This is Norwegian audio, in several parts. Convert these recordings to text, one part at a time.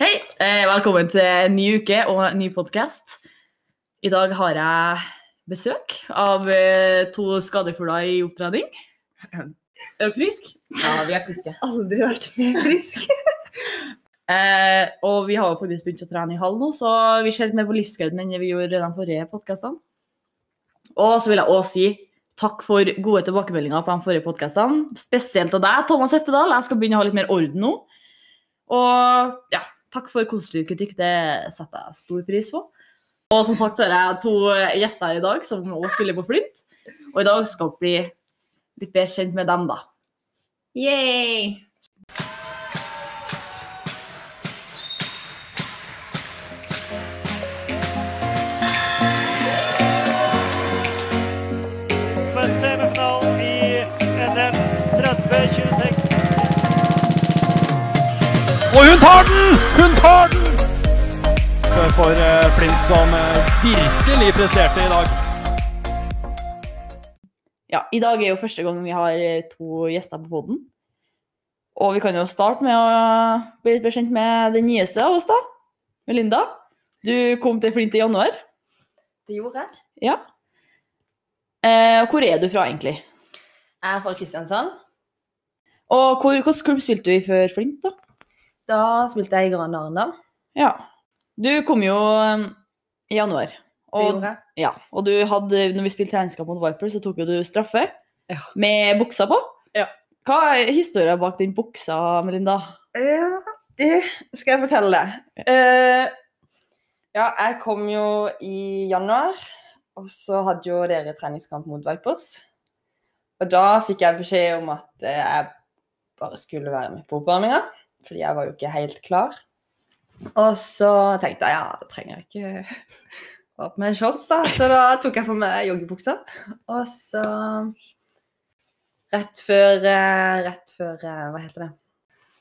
Eh, Velkommen til en ny uke og en ny podkast. I dag har jeg besøk av eh, to skadefugler i opptrening. Er du frisk? Ja, vi er friske. aldri vært mer frisk. Eh, og vi har jo faktisk begynt å trene i hall nå, så vi ser litt mer på livsgleden enn vi gjorde i de forrige podkastene. Og så vil jeg òg si takk for gode tilbakemeldinger på de forrige podkastene. Spesielt av deg, Thomas Eftedal. Jeg skal begynne å ha litt mer orden nå. Og ja, takk for konstruktiv kritikk. Det setter jeg stor pris på. Og som sagt så har jeg to gjester her i dag som òg spiller på flint. Og i dag skal vi bli litt bedre kjent med dem, da. Yay! for semifinalen i NM 30-26. Og hun tar den! Hun tar den! For eh, Flint som eh, virkelig presterte i dag. Ja, I dag er jo første gang vi har eh, to gjester på poden. Og vi kan jo starte med å bli litt bekjent med den nyeste av oss, da. Melinda. Du kom til Flint i januar. Det gjorde jeg. Ja. Eh, hvor er du fra, egentlig? Jeg er fra Kristiansand. Og hvor, hvilken klubb spilte du i før Flint, da? Da spilte jeg i Gran Arendal. Ja. Du kom jo eh, i januar. Det Og, gjorde jeg. ja, og du hadde, når vi spilte regnskap mot Viper, så tok jo du straffe Ja. med buksa på. Ja. Hva er historien bak den buksa, Melinda? Ja, det skal jeg fortelle deg. Eh, ja, jeg kom jo i januar, og så hadde jo dere treningskamp mot Vipers. Og da fikk jeg beskjed om at eh, jeg bare skulle være med på oppvarminga, fordi jeg var jo ikke helt klar. Og så tenkte jeg ja, da trenger jeg ikke å ha på meg en shorts, da. Så da tok jeg på meg joggebuksa. Og så Rett før eh, Rett før eh, Hva heter det?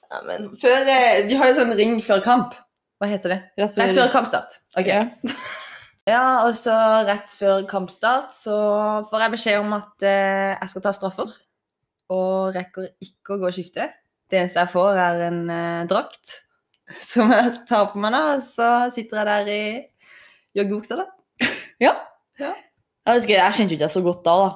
Ja, men før, eh, de har jo sånn ring før kamp. Hva heter det? Rett Rett før kampstart. Ok. Ja. Ja, og så rett før kampstart så får jeg beskjed om at eh, jeg skal ta straffer. Og rekker ikke å gå og skifte. Det eneste jeg får, er en eh, drakt som jeg tar på meg, da. Og så sitter jeg der i joggebuksa, da. Jeg husker, jeg kjente jo ikke deg så godt da. da.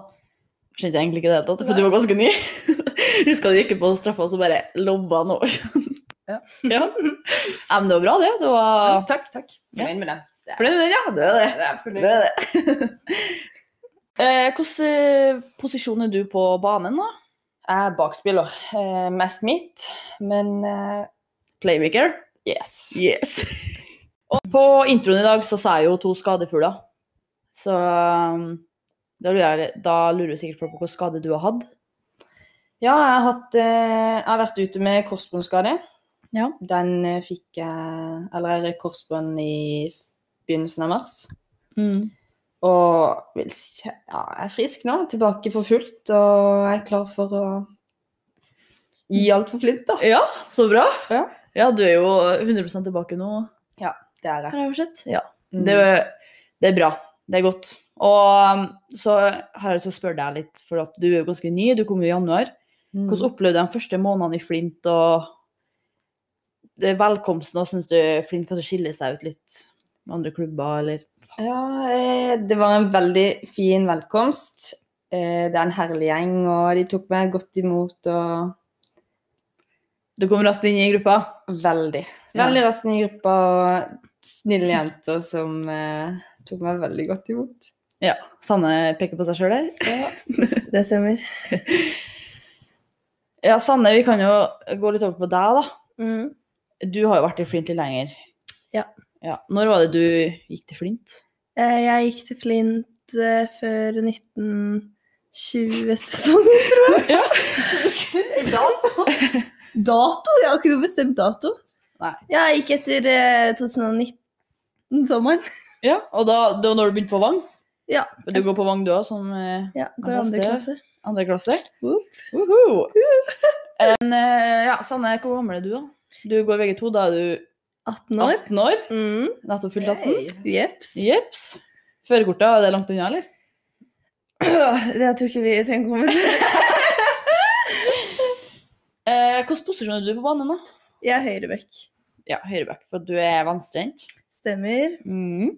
Jeg Kjente egentlig ikke det hele tatt, for du var ganske ny. Jeg Husker du gikk på straffa, og så bare lobba han over. sånn. Ja. ja. Ja, Men det var bra, det. Det var Takk, takk. Ja. Fornøyd med det. fornøyd med den, ja. Det er det. Jeg er fornøyd. det, er det. Eh, Hvilken eh, posisjon er du på banen, da? Jeg er bakspiller. Eh, mest mitt, men eh, Playmaker? yes. Yes. Og på introen i dag så sa jeg jo to skadefugler. Så um, da lurer, jeg, da lurer sikkert folk på hvilken skade du har hatt. Ja, jeg har, hatt, eh, jeg har vært ute med korsbåndskade. Ja. Den eh, fikk jeg Eller jeg røk korsbånd i f- begynnelsen av mars. Mm. Og vil, si- ja, jeg er frisk nå, tilbake for fullt, og jeg er klar for å gi alt for flint, da. Ja, så bra. Ja. du er jo 100 tilbake nå, Det er jeg. har jeg jo sett. Ja. Mm. Det, det er bra. Det er godt. Og um, så har jeg lyst til å spørre deg litt, for at du er jo ganske ny. Du kom jo i januar. Mm. Hvordan opplevde du de første månedene i Flint og det velkomsten? Og syns du Flint kanskje skiller seg ut litt med andre klubber, eller? Ja, eh, det var en veldig fin velkomst. Eh, Det er en herlig gjeng, og de tok meg godt imot og Du kom raskt inn i gruppa. veldig. Ja. Veldig raskt i gruppa og snille jenter som eh, tok meg veldig godt imot. Ja. Sanne peker på seg sjøl der. Ja, det stemmer. Ja, Sanne, vi kan jo gå litt over på deg, da. Mm. Du har jo vært i Flint litt lenger. Ja. ja. Når var det du gikk til Flint? Eh, Jeg gikk til Flint eh, før 1920-sesongen, tror jeg. Ja. Dato? Jeg har ikke noe bestemt dato. Nei. Jeg gikk etter eh, 2019-sommeren. Ja, og da, det var når du begynte på Vang? Ja. Men Du går på Vang du òg, som eh, Ja, går Ja, andre det- klasse. andre klasse? Whoop. Uhu. Men, eh, ja, Sanne, hvor gammel er du, da? Du går VG2, da er du 18 år. 18 år? Mm. Nettopp fylt 18? Jeps. Jepps. Førerkortet, er det langt unna, eller? Jeg tror ikke vi trenger å kommentere. Eh, Hvilken posisjon er du på banen, da? Jeg er høyrebekk. ja, høyreback, for du er venstrehendt. Stemmer. Mm.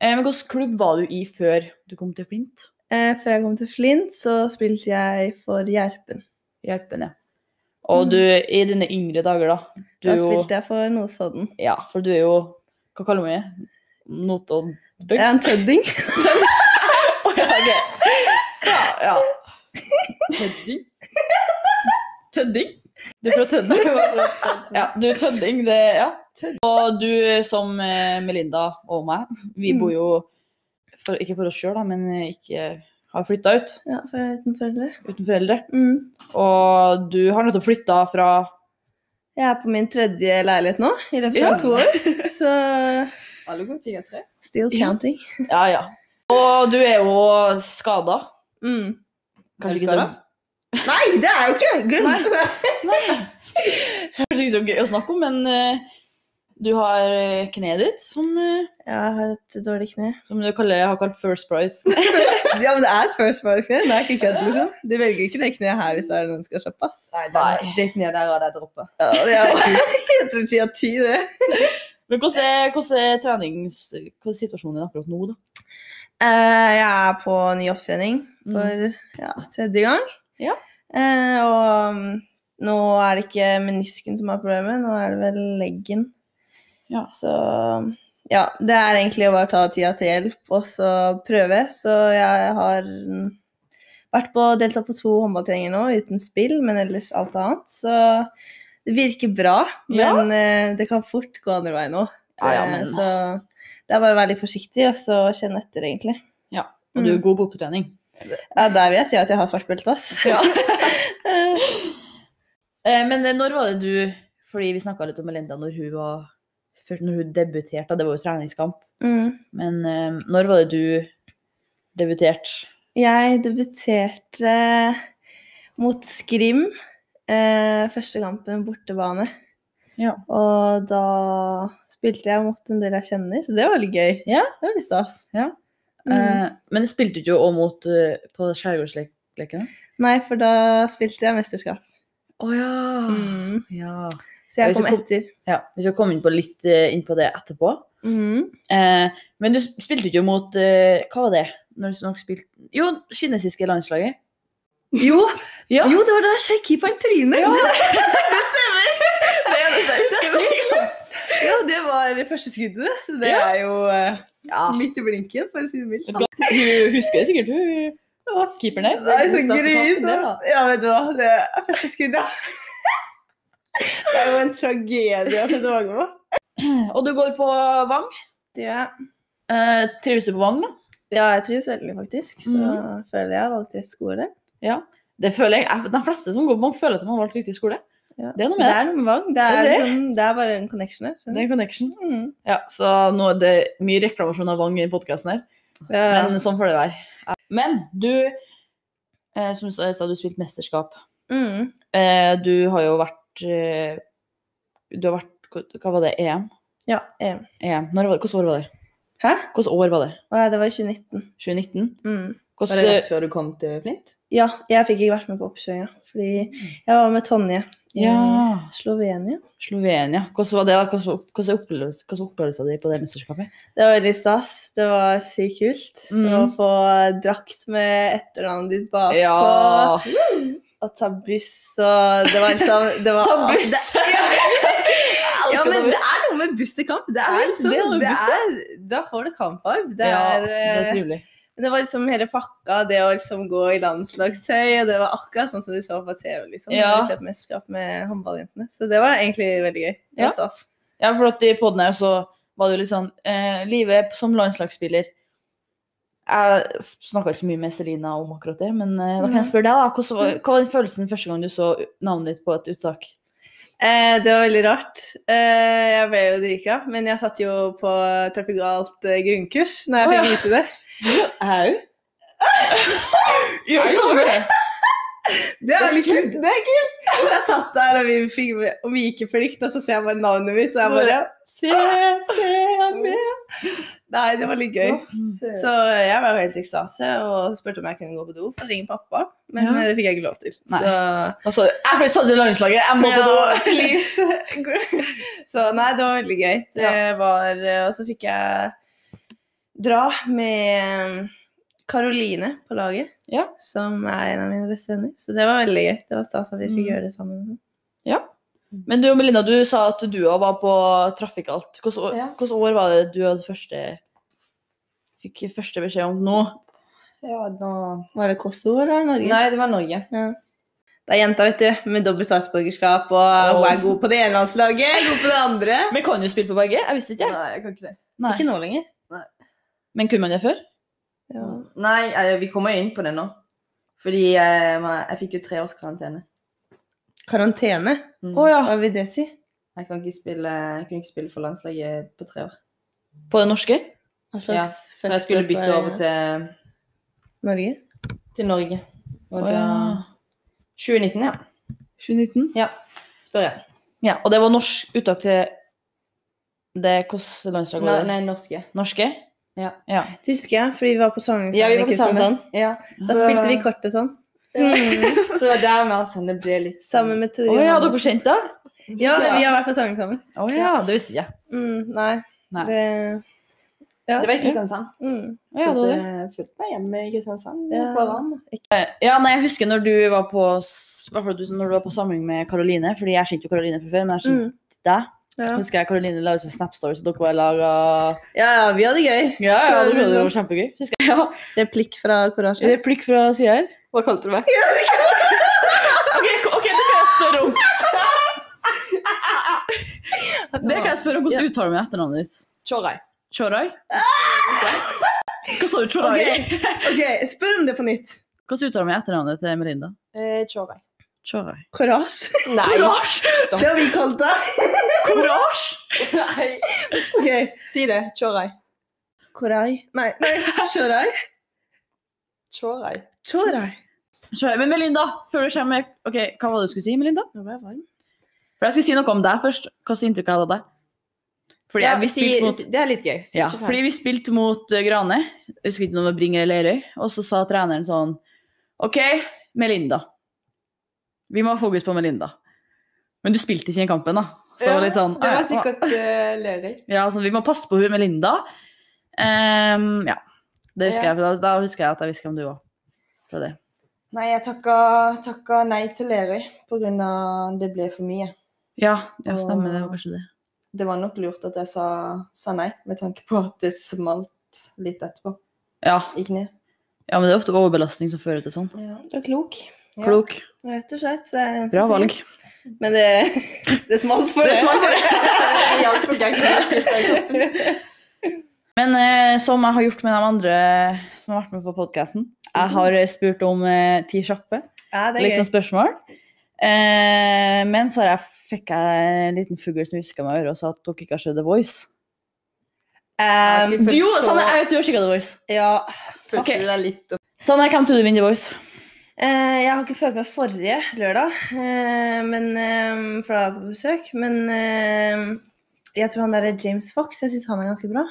Eh, men hvilken klubb var du i før du kom til Flint? Eh, før jeg kom til Flint, så spilte jeg for Gjerpen. Hjelpen, ja. Og Mm. du, i dine yngre dager, da du Da er jo- spilte jeg for Notodden. Ja, for du er jo Hva kaller man det? Notoddbøgg? Jeg er en tødding. ja, ok. ja, ja. Tødding? Tødding? Du er fra Tødding? Ja, du er tødding, det ja. Og du som eh, Melinda og meg, vi Mm. bor jo for, ikke for oss sjøl, da, men eh, ikke har flytta ut Ja, for jeg er uten foreldre. uten foreldre. Mm. Og du har nettopp flytta fra Jeg er på min tredje leilighet nå, i løpet Ja. av to år. Så Alle gode ting er tre. still Ja. counting. Ja, ja. Og du er jo skada. Mm. Er du Kanskje, ikke så- skadet? Nei, det er jo ikke! Glem det! kanskje ikke så gøy å snakke om, men eh, du har eh, kneet ditt, som, eh, Jeg har et dårlig kne. som du kaller, har kalt first price. Ja, men det er et first price-kne. Det er ikke kødd, liksom. Du velger ikke det kneet her hvis det er noen som skal shoppe, ass. Nei, Nei. den- det kneet der hadde jeg droppa. Ja, det er, jeg tror ikke jeg har tid, det. Men hvordan er, hvordan er trenings... Hvordan er situasjonen din akkurat nå, da? Eh, jeg er på ny opptrening for ja, tredje gang. Mm. Ja. Eh, og mm, nå er det ikke menisken som er problemet, nå er det vel leggen. Ja. Så mm, ja, det er egentlig å bare ta tida til hjelp og så prøve. Så jeg har mm, vært på, deltatt på to håndballtreninger nå uten spill, men ellers alt annet. Så det virker bra, Ja. men eh, det kan fort gå andre veien òg. Ja, ja, men- Så det er bare å være litt forsiktig og så kjenne etter, egentlig. Ja, Og du er Mm. god på opptrening. Ja, der vil jeg si at jeg har svart belte, ass. Eh, men eh, når var det du Fordi vi snakka litt om Melinda når hun var før- når hun debuterte, da, det var jo treningskamp. Mm. Men eh, når var det du debuterte? Jeg debuterte mot Skrim. Eh, første kampen bortebane. Ja. Og da spilte jeg mot en del jeg kjenner, så det var veldig gøy. Ja. Det var litt stas. Ja. Mm. Eh, men spilte du jo òg mot eh, på Skjærgårdslekene? Nei, for da spilte jeg mesterskap. Å ja. Mm. ja. Så Ja, jeg hvis kom du kom- etter. Ja, Vi skal komme inn på litt eh, inn på det etterpå. Mm. Eh, men du sp- spilte ikke jo mot eh, Hva var det? Når du nok spilte Jo, kinesiske landslaget. Jo, Ja. jo, det var da jeg sjekket keeperen trynet! Ja. Det er det jeg husker. det var første skuddet, det, så det Ja. er jo eh, Ja. midt i blinken, for å si det mildt. Du husker det sikkert, du. Keeperen der. Nei, Det er så jo starten på kampen, gris. det, ass. Ja, vet du hva. Det er første skudd, ja. Det er jo en tragedie å se tilbake på. Og du går på Vang. Ja. Eh, trives du på Vang, da? ja, jeg trives veldig, faktisk. Så Mhm. føler jeg har valgt rett skole. Det føler jeg. jeg. De fleste som går på Vang, føler at de har valgt riktig skole. Ja. Det er noe med det. det. er noe med valg. Det Det er, er det. liksom, det er bare en connection her. Det er skjønner du? en connection. Mm. Ja, så nå er det mye reklamasjon av Vang i podkasten her. Ja, ja. Men sånn får det være. Men du, eh, som jeg sa, du spilte mesterskap. mm. Eh, du har jo vært eh, Du har vært Hva var det? EM? ja EM. EM. Når var det? Hvilket år var det? Hæ? Hvilket år var det? Å ja, det var i 2019. 2019? Mm. Var det Hvordan rett før du kom til Flint? Ja, jeg fikk ikke vært med på oppkjøringa fordi jeg var med Tonje i Ja. Slovenia. Slovenia. Hvordan var det? da? Hvordan hvordan er opplevelse- hvordan er opplevelsen din på det mesterskapet? Det var veldig stas. Det var sykt kult. Så Mm. Å få drakt med etternavnet ditt bakpå, og ta buss og Det var liksom det var, Ta buss! Det, ja, elsker ja, å ta men buss. det er noe med buss til kamp. Det er Det er liksom, det med det buss, er, Da får du kampvibe. Det, ja, er, det er eh, trivelig. men det var liksom hele pakka, det å liksom gå i landslagstøy, og det var akkurat sånn som de så på TV. liksom, Ja. når de ser på mesterskap med håndballjentene. Så det var egentlig veldig gøy. Det Ja. var stas. Ja, for at i podden her så var det jo litt sånn eh, Livet som landslagsspiller Jeg snakka ikke så mye med Selina om akkurat det, men eh, da kan jeg spørre deg, da. Hvordan, var- hva var den følelsen første gang du så navnet ditt på et uttak? Eh, det var veldig rart. Eh, jeg ble jo drika, men jeg satt jo på trafikalt eh, grunnkurs når jeg Å, fikk vite det. Au! Gjør det det samme. Det er veldig kult. Det er kult. Jeg satt der, og vi, fikk, og vi gikk i plikt, og så ser jeg bare navnet mitt, og jeg bare Se, se, jeg er med! Nei, det var litt gøy. Så jeg var jo helt i ekstase og spurte om jeg kunne gå på do for å ringe pappa, men Ja. eh, det fikk jeg ikke lov til. Nei. Så Altså, jeg ble satt i landslaget, jeg må på do! ja, please. Så nei, det var veldig gøy. Det var eh, Og så fikk jeg dra med Karoline på laget, Ja. som er en av mine beste venner. Så det var veldig gøy. Det var stas at vi fikk Mm. gjøre det sammen. og sånn. Men du og Melinda, du sa at du også var på Trafikalt. Hvilket år, Ja. hvilket år var det du hadde første, fikk første beskjed om nå? Ja, nå... Var det Kosovo eller Norge? Nei, det var Norge. Det er jenta, vet du, med dobbelt statsborgerskap, og hun er god på det ene landslaget, god på det andre. Men kan du spille på begge? Jeg visste ikke. jeg. Nei, jeg kan ikke det. Nei. Ikke nå lenger. Men kunne man det før? Nei, eh, vi kommer jo inn på det nå. Fordi eh, jeg fikk jo tre års karantene. Karantene, Å Mm. ja. hva vil det si? Jeg, kan ikke spille, jeg kunne ikke spille for landslaget på tre år. På det norske? Hva Ja, For jeg skulle fuck-up bytte er over til, Norge? til Norge. Og Å, da... ja. 2019, ja. 2019? Spør jeg. Ja, og det var norsk uttak til det Hvilket landslag Nei, var det? nei norske. Norske? Ja. ja. Det husker jeg, fordi vi var på sangen Ja, vi var på sammen. Ja. Da spilte vi kortet sånn. Mm. Så det var der med oss, det ble litt Sammen med Tore Å ja, Johannes. dere kjente det? Ja, vi har vært på sangen sammen. Å ja, det visste jeg. Mm, nei. Nei. Det Ja. Det var i Kristiansand. mm. Å, ja, det var det. Følte meg hjemme i Kristiansand. Ja. på varme. Ja, nei, jeg husker når du var på s- i hvert fall du- når du var på samling med Karoline, fordi jeg kjente jo Karoline fra før, men jeg kjente deg. Ja. Husker jeg Karoline la ut en Snap Story, så dere var i lag og ja, ja, vi hadde gøy. Ja, ja, det var jo kjempegøy. Husker jeg. Ja. Replikk fra Coraje. Replikk fra sida her. Hva kalte du meg? OK, ok, det kan jeg spørre om. Det kan jeg spørre om Hvordan uttaler man etternavnet ditt? Chorai. Chorai? Hva sa du, Chorai? Ok, ok, spør om det på nytt. Hvordan uttaler man etternavnet til Melinda? Eh, Chorai. Chorai. Coraje? Nei. Courage! Det har vi kalt deg. Courage! Nei. Ok. Si det. Chorai. Korai Nei, nei. Chorai? Chorai. Chorai. Chorai. Men Melinda, før du kommer Ok, hva var det du skulle si, Melinda? Nå ble jeg varm. For jeg skulle si noe om deg først. Hva slags inntrykk jeg hadde av deg? Fordi, Ja, jeg- vi si- spilte mot, Det er litt gøy. Si ja, ikke sant. fordi vi spilte mot eh, Grane. Jeg husker ikke noe med Bringer eller Lerøy. Og så sa treneren sånn OK, Melinda. Vi må ha fokus på Melinda. Men du spilte ikke i den kampen, da. Så Ja, litt sånn Det ah, ja, var sikkert uh, Lerøy. Ja, sånn, vi må passe på hun Melinda. Ehm, ja. Det husker Ja. jeg, for da, da husker jeg at jeg hviska om du òg. Fra det. Nei, jeg takka, takka nei til Lerøy pga. det ble for mye. Ja, ja, stemmer det. var Kanskje det. Det var nok lurt at jeg sa, sa nei, med tanke på at det smalt litt etterpå. Ja. I kneet. ja, men det er ofte overbelastning som fører til sånn. Du er klok. Ja. Klok. Rett og slett. så er det en som Bra sier. valg. Men det, det smalt for Det det. smalt for Jeg hjalp på gangen, jeg spilte i koppen. Men eh, som jeg har gjort med de andre som har vært med på podkasten, jeg har eh, spurt om eh, ti kjappe Ja, det litt er sånn gøy. spørsmål. Eh, men så har jeg, fikk jeg en liten fugl som hviska meg i øret og sa at dere ikke har sett The Voice. Um, Jeg har ikke følt Jo, så- Sanne, jeg vet du har sjekka The Voice. ja. Følte Ok. du deg litt opp? Sanne, hvem tror du vinner The Voice? Eh, jeg har ikke følt meg forrige lørdag, eh, men, eh, for da var jeg på besøk. Men eh, jeg tror han derre James Fox, jeg syns han er ganske bra.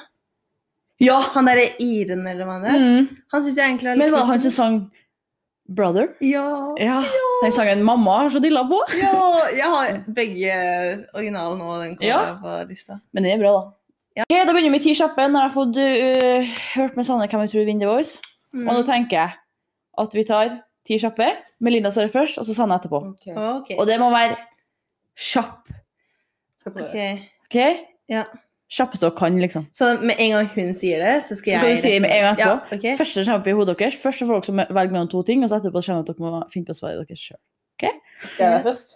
Ja! Han derre Iren, eller hva han er. Mm. Han syns jeg egentlig er Men var det han som kuselig. sang 'Brother'? Ja. Ja. Den sangen mamma har så dilla på. ja! Jeg har begge originalen og den kommer Ja. på lista. Men den er bra, da. Ok, Da begynner vi med ti kjappe. Nå har jeg fått øh, hørt med Sanne hvem jeg tror vinner The Voice. Og Mm. nå tenker jeg at vi tar ti kjappe. Melinda svarer først, og så Sanne etterpå. Ok, Ok. Og det må være kjapp. skal prøve. Ok. OK? Ja. Kjappest dere kan, liksom. Så med en gang hun sier det, så skal Så jeg skal du si rett- med en gang etterpå. Ja, ok. Første som kommer opp i hodet deres. Først så får dere som velge mellom to ting, og så etterpå skjønner dere at dere må finne på svaret deres sjøl. Skal jeg være først?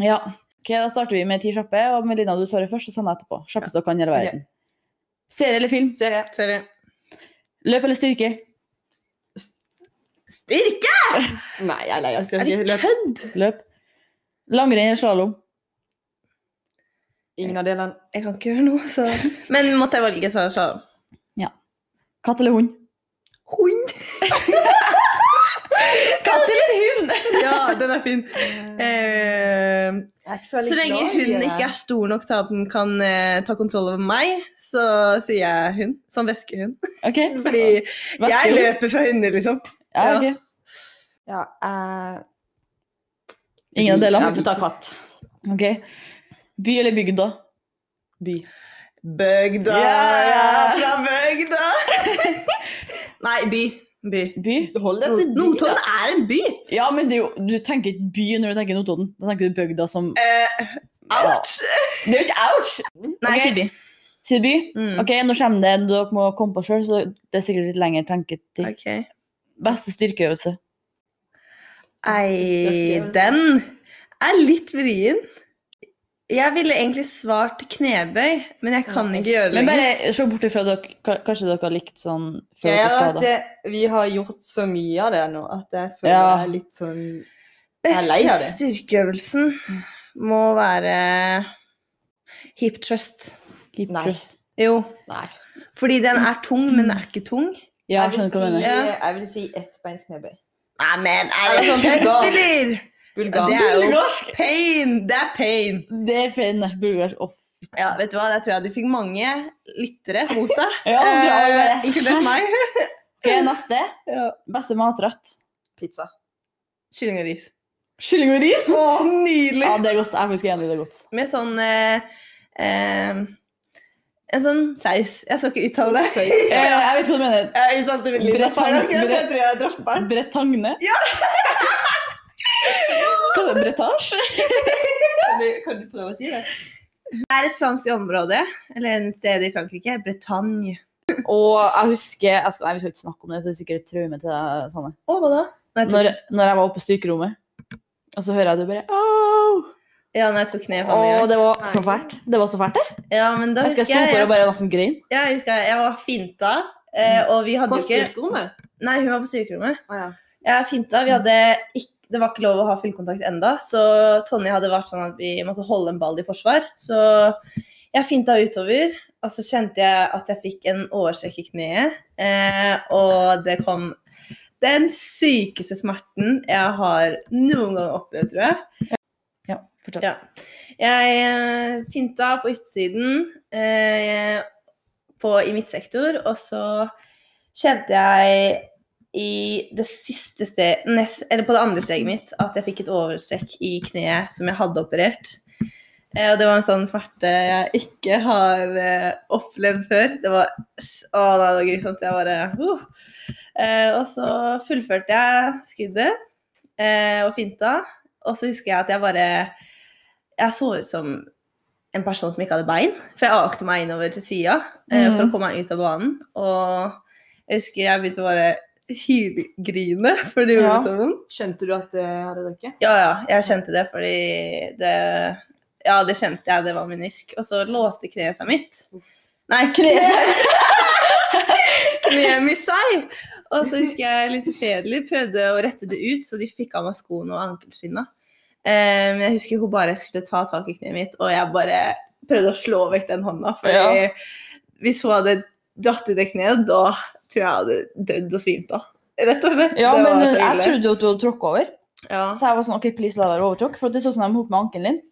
Ja. Ok, Da starter vi med ti kjappe, og Melina, du svarer først, og Sanne etterpå. Kjappest dere kan i hele Ok. verden. Serie eller film? Ser jeg. Sorry. Løp eller styrke? Styrke! Nei, jeg er lei av Er det styrke. Løp. kødd? Løp. Langrenn eller slalåm? Ingen av delene. Jeg kan ikke gjøre noe, så Men måtte jeg velge, så er det sånn. Katt eller hund? Hund! Katt eller hund? Ja, den er fin. Eh, Så, så lenge hun ikke er stor nok til at den kan eh, ta kontroll over meg, så sier jeg hun. Sånn væskehund. OK. Fordi Hva jeg skal du? løper fra hunder, liksom. Ja, ok. ja, eh, Ingen av delene? Jeg vil ta katt. Ok. By eller bygd, da? By. Bøgda! Ja, Jeg ja. er fra bygda! Nei, by. By. By? Hold deg til by, Notodden da. er en by! Ja, men det er jo, du tenker ikke by når du tenker Notodden. Da tenker du bygda som Eh, ouch! Det er jo ikke ouch! Nei, Ok. til by. Sier by. Mm. Ok, nå kommer det en dere må komme på sjøl, så det er sikkert litt lengre tenketid. Ok. Beste styrkeøvelse. Ei, den er litt vrien. Jeg ville egentlig svart knebøy, men jeg kan ikke gjøre det Men lenger. bare se bort ifra dere ka- Kanskje dere har likt sånn før Jeg dere er at skadet. det, vi har gjort så mye av det nå at jeg føler Ja. jeg er litt sånn jeg er lei Beste av det. styrkeøvelsen må være hip trust. Keep Nei. trust. Jo, Nei. fordi den er tung, men den er ikke tung. Ja, jeg skjønner hva du si, mener. jeg vil si ettbeinsknebøy. Nei, men Er det sånn bulgar? eller? Bulgar. Det er jo Bulgarsk! pain! Det er pain. Det er feil nei, bulgarsk. Åh. Ja, vet du hva, der tror jeg du fikk mange lyttere mot deg. Ja, bra, Eh, bare. Inkludert meg. Eh, Ok, neste. Ja. Beste matrett. Pizza. Kylling og ris. Kylling og ris. Å, nydelig! Ja, det er godt. Jeg er faktisk enig, det er godt. med sånn eh, eh, En sånn saus. Jeg skal ikke uttale det. Eh, Jeg vet hva du mener. Sånn Jeg uttalte mitt liv. Brett- Takk, jeg brett- tror jeg dropper den. Bretagne? Ja! Hva er det? Bretasje? Kan du, kan du prøve å si det? Det er et fransk område, eller et sted i Frankrike. Bretagne. Og jeg husker jeg skal, Nei, vi skal ikke snakke om det, for det er sikkert et traume til deg, Sanne. Å, hva da? Nei, jeg tok, Når, når jeg var oppe på styrkerommet, og så hører jeg du bare Åh! ja, når jeg tok kneet på Og meg. det var så fælt. Det var så fælt, det. Ja, men da Jeg husker husker jeg sto jeg oppover og jeg, bare nesten grein. ja, jeg, husker jeg, jeg var finta, eh, og vi hadde På jo ikke styrkerommet? Nei, hun var på sykerommet. Å ja. Jeg finta, vi hadde ikke det var ikke lov å ha fullkontakt enda, så Tonje hadde vært sånn at vi måtte holde en ball i forsvar. Så jeg finta utover, og så kjente jeg at jeg fikk en årsekk i kneet. Eh, og det kom den sykeste smerten jeg har noen gang opplevd, tror jeg. Ja, fortsatt. Ja. Jeg eh, finta på utsiden eh, på, i midtsektor, og så kjente jeg i det siste steget, nest, eller på det andre steget mitt, at jeg fikk et overstrekk i kneet som jeg hadde operert. Eh, og det var en sånn smerte jeg ikke har eh, opplevd før. Det var, å, nei, det var grusomt. Jeg bare uh. eh, Og så fullførte jeg skuddet eh, og finta. Og så husker jeg at jeg bare Jeg så ut som en person som ikke hadde bein. For jeg akte meg innover til sida eh, for å Mhm. komme meg ut av banen. Og jeg husker jeg begynte å bare hylgrine, for det gjorde Ja. så vondt. Skjønte du at det hadde drukket? Ja, ja, jeg kjente det fordi det Ja, det kjente jeg, det var menisk. Og så låste kneet seg mitt. Nei, Kneet kneet seg Kneet mitt seg! Og så husker jeg Lise Federli prøvde å rette det ut, så de fikk av meg skoene og ankelskinna. Eh, Men jeg husker hun bare skulle ta tak i kneet mitt, og jeg bare prøvde å slå vekk den hånda. For Ja. hvis hun hadde dratt ut det kneet, da tror jeg jeg hadde dødd og svimt av. Rett og slett. Ja, Det men var så jeg ille. trodde jo at du hadde tråkka over. ja. Så jeg var sånn OK, please, la være overtråkk. For det så ut som de hoppa med ankelen din.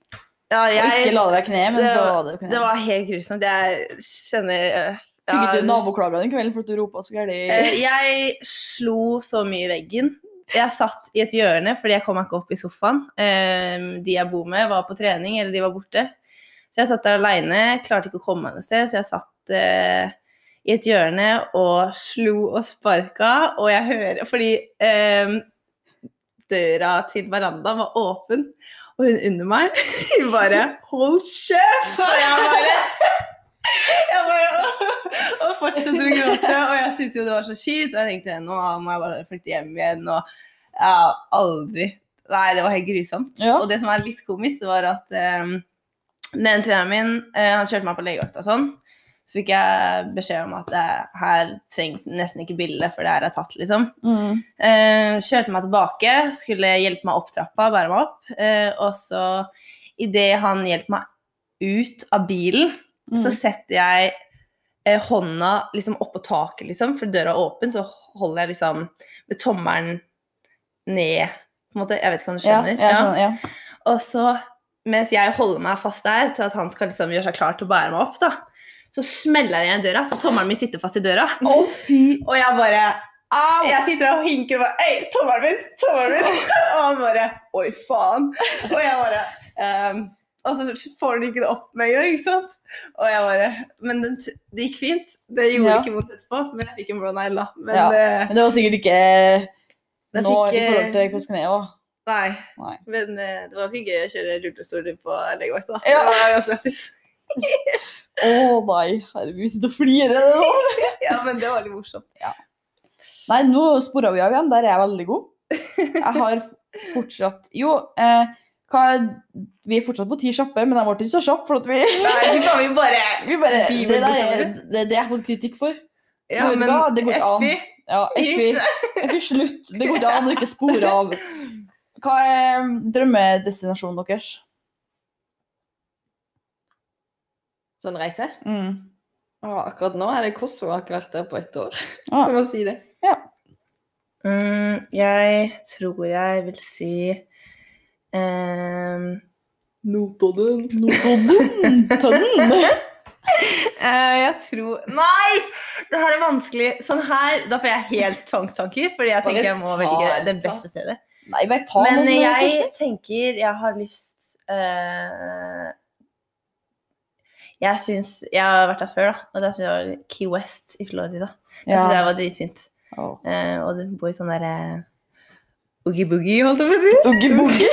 Ja, Og jeg- ikke la det være kneet, men det så var- var det kneet. Det var helt grusomt. Jeg kjenner øh, Fikk ja, ikke du naboklaga den kvelden for at du ropa så gærent? øh, Jeg slo så mye i veggen. Jeg satt i et hjørne fordi jeg kom meg ikke opp i sofaen. Ehm, De jeg bor med, var på trening, eller de var borte. Så jeg satt der aleine, klarte ikke å komme meg noe sted, så jeg satt øh, i et hjørne og slo og sparka, og jeg hører Fordi ehm, døra til verandaen var åpen, og hun under meg hun bare 'Hold kjeft!' Og jeg bare jeg bare, og fortsetter å gråte. Og jeg syntes jo det var så kjipt. Og jeg tenkte nå må jeg bare flytte hjem igjen. Og ja, aldri. Nei, det var helt grusomt. Ja. Og det som er litt komisk, det var at eh, den ene treneren min eh, han kjørte meg på legevakta og sånn. Så fikk jeg beskjed om at eh, her trengs nesten ikke bilde, for det her er tatt, liksom. Mm. Eh, kjørte meg tilbake, skulle hjelpe meg opp trappa, bære meg opp. Eh, og så idet han hjelper meg ut av bilen, Mm. så setter jeg eh, hånda liksom oppå taket, liksom, for døra er åpen, så holder jeg liksom med tommelen ned. på en måte. Jeg vet ikke om du Ja, skjønner. jeg skjønner. Ja. Og så, mens jeg holder meg fast der til at han skal liksom gjøre seg klar til å bære meg opp, da, så smeller jeg igjen døra, så tommelen min sitter fast i døra. Og jeg bare Jeg sitter der og hinker og bare Ei, tommelen min! Tommelen min! Og han bare Oi, faen. Og jeg bare ehm, Og så får han ikke det opp med en gang, ikke sant? Og jeg bare Men den, t- det gikk fint. Det gjorde Ja. ikke vondt etterpå, men jeg fikk en brown eye, da. Men Ja. eh, Men det var sikkert ikke jeg nå fikk, i forhold eh, til hvordan jeg var. Nei. Nei. Men eh, det var ganske gøy å kjøre rullestol rundt på legevakta. da. Ja. Det var ganske lættis. Å nei, herregud, vi sitter og flirer nå. Ja, men det var litt morsomt. Nei, nå spora vi av igjen. Der er jeg veldig god. Jeg har fortsatt Jo, eh, hva vi er fortsatt på ti kjappe, men de ble ikke så kjappe. For at vi, Nei, så kan vi bare vi bare, De det ble der er bortover. det, det jeg har fått kritikk for. Ja, Vet du men hva? Det går ikke an. Effie, Ja, Effie, ikke. Effie, slutt. Det går ikke an å ikke spore av. Hva er um, drømmedestinasjonen deres? Sånn reise? Mm. Å, akkurat nå er det Kosovo. Jeg har ikke vært der på ett år. Ah. Så må jeg si det. Mm, jeg tror jeg vil si ehm, Notodden. Notodden. Tønnen. eh, Jeg tror Nei! Det her er vanskelig. Sånn her, Da får jeg helt tvangstanker, fordi jeg Bare tenker jeg må ta velge det en beste stedet. Nei, bare ta Men noe som er jeg kanskje- tenker jeg har lyst eh, Jeg syns Jeg har vært der før, da. Og da synes jeg var Key West i Florida. Jeg Ja. synes det var dritfint. Åh. Eh, og du bor i sånn derre eh, Oogie-boogie, holdt jeg på å si. Oogie boogie.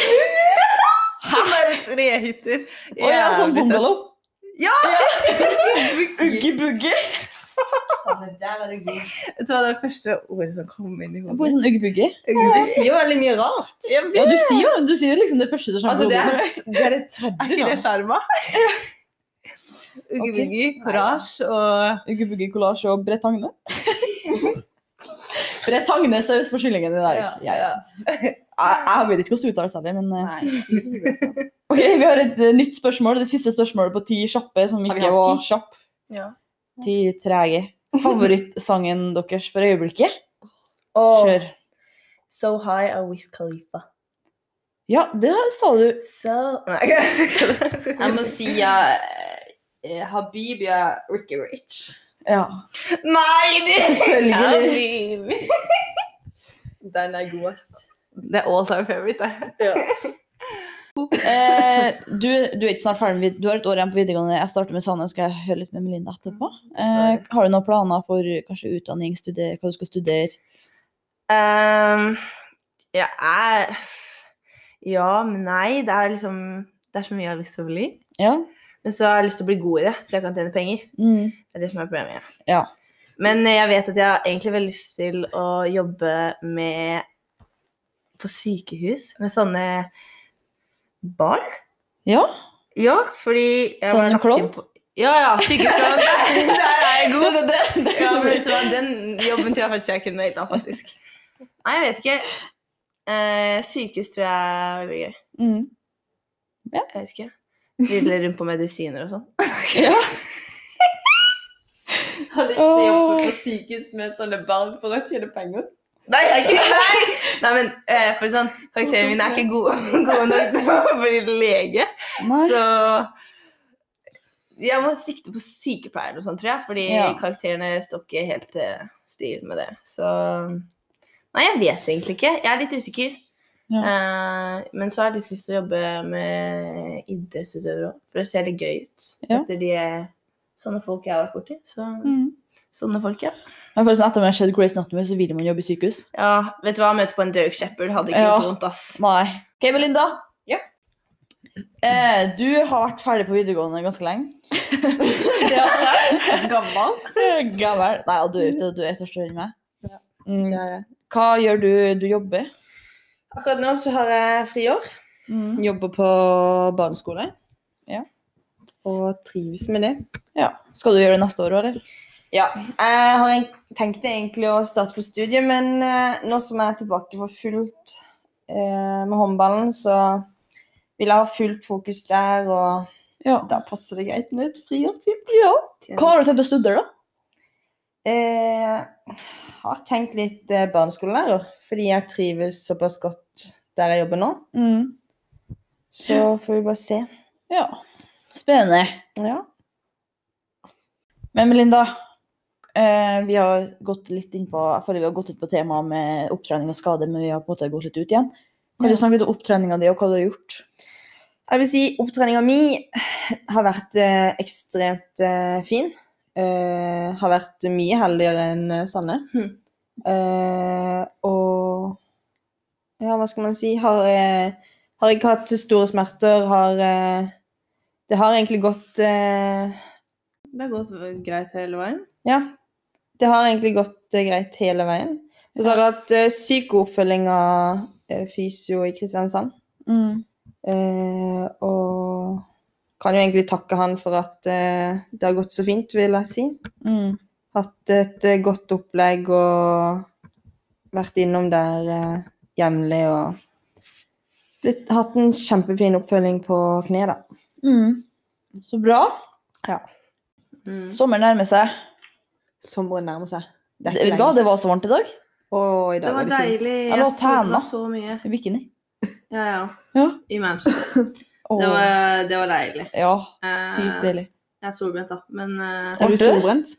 Sånn derre trehytter. Å ja, sånn Jævlig søtt. bungalow. Ja! Oogie boogie. Vet du hva, det er det første ordet som kom inn i Jeg bor i hodet. sånn oogie boogie. Du sier jo veldig mye rart. Ja, du sier jo du sier jo liksom det første du skjønner. Altså, det er det, er det Er tredje ikke nå. det sjarma? Oogie-boogie, courage og Oogie boogie collage og Brett Hagne. Brett Hagne saus på kyllingen i dag. Ja, ja. Jeg, jeg vet ikke hvordan uttales det, men eh, altså. Ok, Vi har et eh, nytt spørsmål. Det siste spørsmålet på ti kjappe som Har vi ikke hatt var ti? kjapp. Ti trege. Favorittsangen deres for øyeblikket? Kjør. So High av Wiz Khalifa. Ja, det sa du. So Nei, jeg Jeg må si eh, eh, Habibia Ricky Rich. Ja. Nei, du! Selvfølgelig. Den er god, ass. Det er all time favorite, det. Eh, du, du er ikke snart ferdig med vid- Du har et år igjen på videregående. Jeg starter med Sanne, skal jeg høre litt med Melinda etterpå. Mm, Eh, har du noen planer for kanskje utdanning, studie, hva du skal studere? Ehm, jeg er Ja, men nei. Det er liksom Det er så mye jeg har lyst til å bli. Ja. Men så har jeg lyst til å bli god i det, så jeg kan tjene penger. Mm. Det er det som er problemet. Ja. Men eh, jeg vet at jeg har egentlig veldig lyst til å jobbe med På sykehus med sånne barn. ja. Ja, fordi jeg Sånn var lagt klovn? inn på- Ja, ja. Sykehusplanen. Der, der er jeg god. Ja, men vet du hva, Den jobben tror jeg faktisk jeg kunne helt av, faktisk. Nei, jeg vet ikke. Eh, sykehus tror jeg er veldig gøy. Mm. Jeg vet ikke. Tvidle rundt på medisiner og sånn. Jeg har lyst til å jobbe på sykehus med sånne barn for å tjene penger. Nei, jeg er ikke nei. nei, men eh, for sånn, karakterene mine er ikke gode, gode nok til å bli lege. Nei. Så jeg må sikte på sykepleier eller noe sånt, tror jeg. Fordi Ja. karakterene står ikke helt til styr med det. Så Nei, jeg vet egentlig ikke. Jeg er litt usikker. Eh, men så har jeg litt lyst til å jobbe med idrettsutøvere òg, for det ser litt gøy ut. Ja. Etter de sånne folk jeg har vært borti. Så, Mm. Sånne folk, ja. Men forresten, etter at man har sett Grace Anatomy, så vil man jobbe i sykehus. ja. Vet du hva, møte på en Derek Shepherd hadde ikke Ja. gjort vondt, ass. Nei. Ok, Melinda. Ja. Eh, du har vært ferdig på videregående ganske lenge. Gammel. Gammel. Nei, og du er ute, du er ett år større enn meg. Mm. Hva gjør du? Du jobber? Akkurat nå så har jeg friår. Mm. Jobber på barneskole. Ja. Og trives med det. Ja. Skal du gjøre det neste år òg, eller? Ja. Jeg har en- tenkt egentlig å starte på studiet, men eh, nå som jeg er tilbake for fullt eh, med håndballen, så vil jeg ha fullt fokus der, og Ja. da passer det greit med et friårstid. Hva har du tenkt å studere, da? Jeg Eh, har tenkt litt eh, barneskolelærer, fordi jeg trives såpass godt der jeg jobber nå. Mm. Så får vi bare se. Ja. Spennende. Ja. Men Melinda, eh, vi har gått litt inn på, fordi vi har gått ut på temaet med opptrening og skade, men vi har på en måte gått litt ut igjen. Kan du snakke litt om opptreninga di, og hva du har gjort? Jeg vil si opptreninga mi har vært eh, ekstremt eh, fin. Eh, har vært mye heldigere enn eh, Sanne. Mhm. Eh, og Ja, hva skal man si? Har, eh, har ikke hatt store smerter. Har eh, Det har egentlig gått eh, Det har gått greit hele veien. Ja. Det har egentlig gått eh, greit hele veien. Og så har jeg hatt eh, syk god oppfølging av eh, fysio i Kristiansand. Mm, Eh, og kan jo egentlig takke han for at eh, det har gått så fint, vil jeg si. mm, Hatt et eh, godt opplegg og vært innom der eh, jevnlig og blitt, hatt en kjempefin oppfølging på kne, da. mm. Så bra. Mm. Sommeren nærmer seg. Sommeren nærmer seg. Det Vet du hva, det var så varmt i dag. Og i dag Det var var det fint. deilig. Ja, det Jeg var så det tæna. var så mye. I bikini. Ja, ja. Ja. I Manchester. Åh. Det var, det var deilig. Ja, Eh, sykt deilig. Jeg er solbrent, da. Men eh, Var Er det? du solbrent?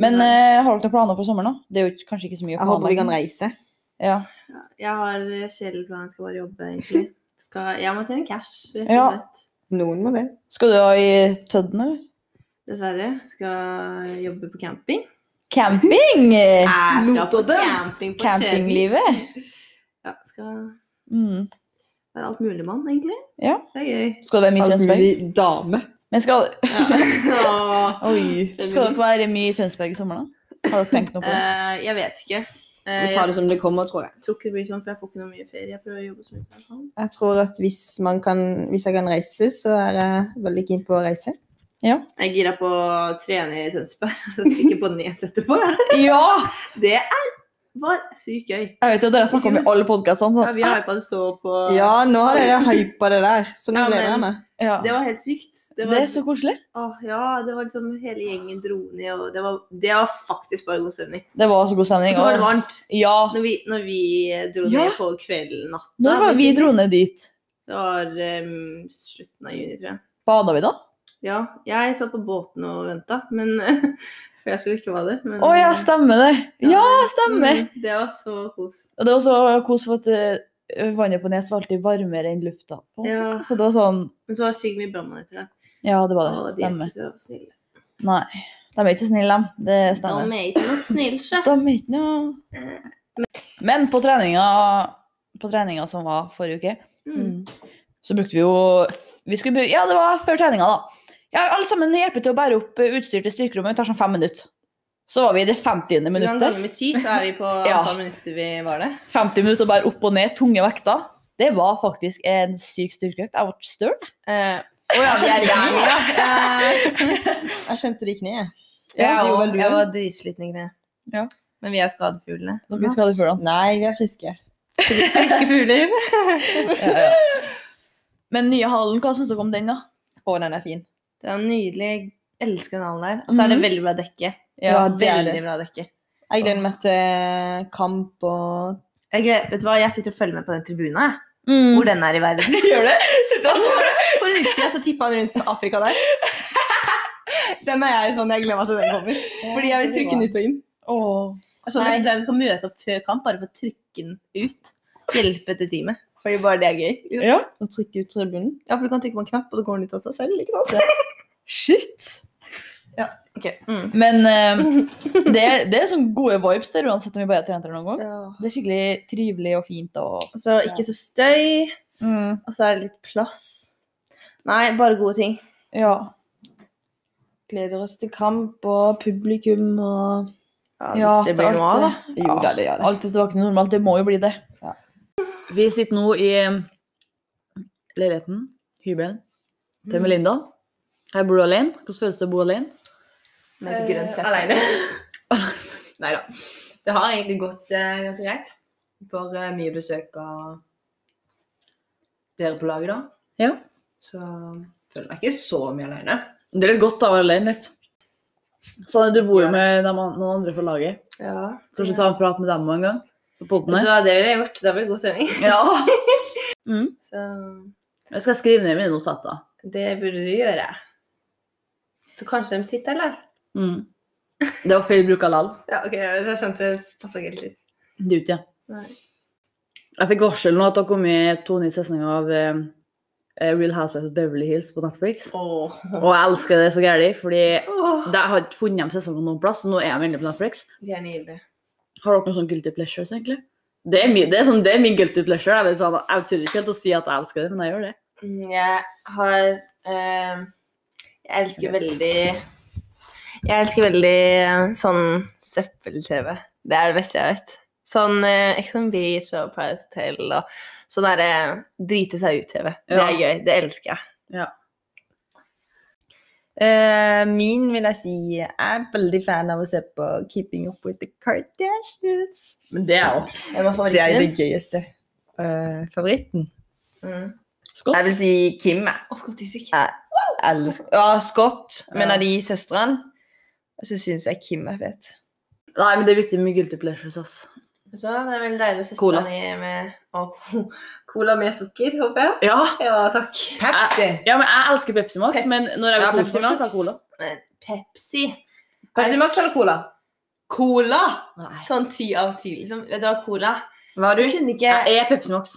Men eh, har dere noen planer for sommeren, da? Det er jo ikke- kanskje ikke så mye Jeg håper vi kan planer. reise. Ja. ja, jeg har kjedelig plan. Jeg skal bare jobbe, egentlig. Skal, jeg må tjene cash, rett og Ja. slett. Noen må det. Skal du i Tødden, eller? Dessverre. Skal jobbe på camping. Camping! Jeg skal på Notodden! camping på Tjørn. Campinglivet. Ja, skal Mm. være alt mulig mann, egentlig. Ja. Det er gøy. Skal det være mye i Alt Tønsberg? mulig dame. Men skal, Åh. Oi. skal dere være mye i Tønsberg i sommer, da? Har dere tenkt noe på det? Eh, jeg vet ikke. Eh, Vi tar det som det kommer, tror jeg. jeg tror ikke det blir sånn, for jeg får ikke noe mye ferie. Jeg prøver å jobbe så mye jeg kan. Jeg tror at hvis, man kan, hvis jeg kan reise, så er jeg veldig keen på å reise. Jeg er gira på å trene i Tønsberg, og så stikker jeg på Nes etterpå. jeg. Ja! Det er, var sykt gøy. Jeg vet jo at dere har snakket om i alle podkastene. Ja, vi har hypa det så på Ja, nå har dere hypa det der, så nå Ja, gleder jeg men- meg. Ja. Det var helt sykt. Det var, Det er så koselig. Åh, ja, det var liksom hele gjengen dro ned, og det var, det var faktisk bare god stemning. Det var så god Og stemning. så var det og- varmt Ja. når vi, når vi dro Ja. ned på kvelden natta. Når var vi dro ned dit? Det var em, slutten av juni, tror jeg. Bada vi da? Ja, jeg satt på båten og venta, men For jeg skulle ikke være det. Men, eh, Å ja, stemmer det! Ja, stemmer! Mm, det var så kos. Og det var så kos for at eh, vannet på Nes var alltid varmere enn lufta. på. Ja. Så det var sånn Men så var det sykt mye brannmann etter det. Ja, det var Å, det. de er Stemmer. ikke så snille. Nei. De er ikke snille, de. Det stemmer. De er ikke noe snille, sjø. De er ikke noe Men på treninga, på treninga som var forrige uke, Mm. så brukte vi jo vi skulle, bru- Ja, det var før treninga, da. Ja, alle sammen hjelper til å bære opp eh, utstyr til styrkerommet. Det tar sånn fem minutter. Så var vi i det 50. Du kan minuttet. gange med ti, så er vi på Ja. antall minutter vi var der. 50 minutter å bære opp og ned tunge vekter. Det var faktisk en syk styrkeøkt. Jeg ble støl. Jeg skjønte det i kneet. Ja, det gjorde vel du, ja. var dritsliten i kneet. Ja. Men vi er skadefuglene. Dere skal ha det før, da. Nei, vi er friske. Friske fugler. Ja, ja. Men nye hallen, hva syns dere om den, da? Å, den er fin. Det er nydelig. Jeg elsker den hallen der. Og så er det Mhm. veldig bra dekke. Ja, det er det. veldig bra dekke. Jeg gleder meg til kamp og Jeg, gled- vet du hva? jeg sitter og følger med på den tribunen. jeg. Mm. Hvor den er i verden. Altså, Gjør det? Sitter og For en uke siden så tippa han rundt Afrika der. Den er jeg sånn, jeg gleder meg til den kommer. Fordi jeg vil trykke den ut og inn. Åh. Jeg skjønner nesten at vi kan møte opp før kamp bare for å trykke den ut. Hjelpe til teamet. Fordi bare det er gøy. Ja. Å trykke ut tribunen. Ja, for du kan trykke på en knapp, og så går den ut av seg selv. ikke sant? Shit. Ok. mm. Men eh, det, det er sånne gode vibes der uansett om vi bare trener noen gang. Det er skikkelig trivelig og fint og Og så ikke så støy, mm. og så er det litt plass. Nei, bare gode ting. Ja. Gleder oss til kamp og publikum og Ja, hvis det blir noe av, da. Jo da, det gjør det. Alt er tilbake til normalt. Det må jo bli det. Ja. Vi sitter nå i eh, leiligheten, hybelen, til Melinda. Jeg bor alene. Hvordan føles det å bo alene? Med grønt teppe. Aleine. Nei da. Det har egentlig gått eh, ganske greit. For eh, mye besøk av dere på laget, da. Ja. Så føler jeg meg ikke så mye alene. Det er litt godt å være alene litt. Sånn, du bor jo med dem, an- noen andre fra laget. Ja. Kanskje ta en prat med dem en gang? På podden Vet du her. hva, det ville jeg gjort. Det blir god sending. Ja. Så Jeg skal skrive ned mine notater. det burde du gjøre. Så kanskje de sitter, eller? Mm. Det var feil bruk av lall. Ja, ok, jeg skjønte det passa ikke helt inn. Det er ute, ja. Nei. Jeg fikk varsel nå at det har kommet to nye sesonger av eh, Real Housewives of Beverly Hills på Netflix. Åh. Og jeg elsker det så gærent, fordi Åh, jeg har ikke funnet dem sesongen noen plass. og Nå er de endelig på Netflix. de er nydelige. Har dere noen sånn guilty pleasures, egentlig? Det er, min, det, er sånn, det er min guilty pleasure. Jeg, sånn, jeg tør ikke helt å si at jeg elsker det, men jeg gjør det. Mm, Jeg har eh, Jeg elsker veldig Jeg elsker veldig eh, sånn søppel-TV. Det er det beste jeg vet. Sånn eh, Ex on Beach og Paradise Hotel og sånn derre drite seg ut-TV. Det Ja. er gøy. Det elsker jeg. Eh, min vil jeg si Jeg er veldig fan av å se på Keeping Up With The Kardashians. Men det er jo Det Hvem er er favoritten det din? gøyeste. Eh, favoritten? Mm. Scott. Jeg vil si Kim. jeg. Å, Scott Disick. Elsk- Ja, Scott. Men Ja. av de søstrene så syns jeg Kim er fet. Nei, men det er viktig med guilty pleasures, ass. Vet du hva, det er veldig deilig å sette Cola. seg ned med å, ko- Cola med sukker, håper jeg. Ja, Ja, takk. Pepsi! ja men jeg elsker Pepsi Max, Peps. men når jeg Ja, vil Pepsi kose meg, så tar Max. jeg cola. Men Pepsi Pepsi Max eller Cola? Cola! Nei. Sånn ti av ti, liksom. Vet du hva, cola Hva har Du du? kunne ikke Jeg er Pepsi Max.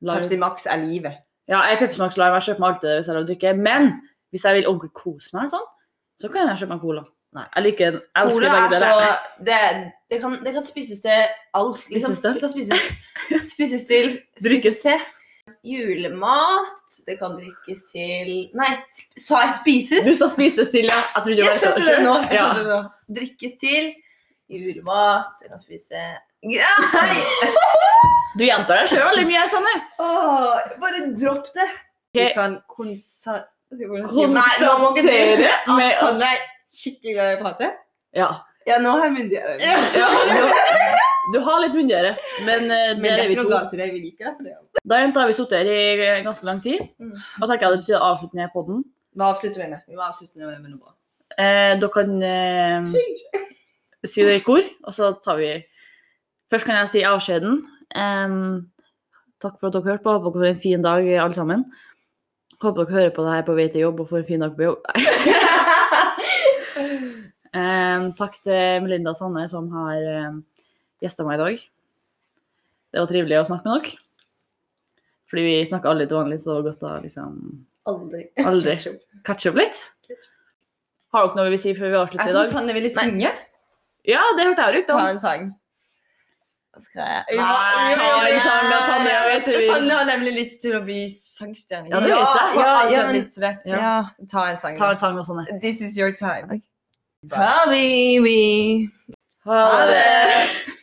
Live. Pepsi Max er livet. Ja, jeg er Pepsi Max Live. Jeg kjøper meg alltid det hvis jeg vil drikke. Men hvis jeg vil ordentlig kose meg, sånn, så kan jeg kjøpe meg cola. Nei. Jeg liker den. Jeg elsker Cola er begge så deler. det, det, kan, det kan spises til alt. Liksom. Spises til? Det kan spises, spises til Drikkes. spises til julemat. Det kan drikkes til Nei, sp- sa jeg spises? Du sa spise stille. ja. Jeg trodde det Jeg var skjønner det nå. Jeg Ja. skjønner det nå. Drikkes til julemat. Det kan spise ja, Nei! Du gjentar deg selv veldig mye, Sanne. Åh, bare dropp det. Du Ok. kan konser... Kon- Sånn Nei, nå må ikke du Med, er skikkelig glad i å prate. ja. Ja, nå har jeg myndighet. ja du, du har litt myndigere, men eh, Men det der er er vi ikke noe to. galt i det. Vi liker deg for det. Da jenta har vi sittet her i eh, ganske lang tid. Mm. Da tenker jeg det betyr avslutning av podden. Vi avslutter med det. Vi må avslutte med noe bra. Eh, dere kan eh, si det i kor, og så tar vi Først kan jeg si avskjeden. Em, takk for at dere hørte på. Håper dere får en fin dag, alle sammen. Håper dere hører på det her på vei til jobb og får en fin dag på jobb. Em, takk til Melinda og Sanne som har um, gjesta meg i dag. Det var trivelig å snakke med dere. Fordi vi snakker aldri til vanlig, så det var godt å liksom Aldri. aldri catche opp litt. Har dere noe vi vil si før vi Jeg avslutter i tror dag? Sanne ville synge. Ja, det hørte jeg ut. Ta en sang. Skal jeg Nei, ta en sang da, Sanne, jeg vet det. Sanne har nemlig lyst til å bli sangstjerne. Ja, det vet jeg. Ja, Ja, alltid ja, hatt men- lyst til det. Ja. Ta en sang. Ta da. en sang og sånn. ja. This is your time. Habibi. Ha det!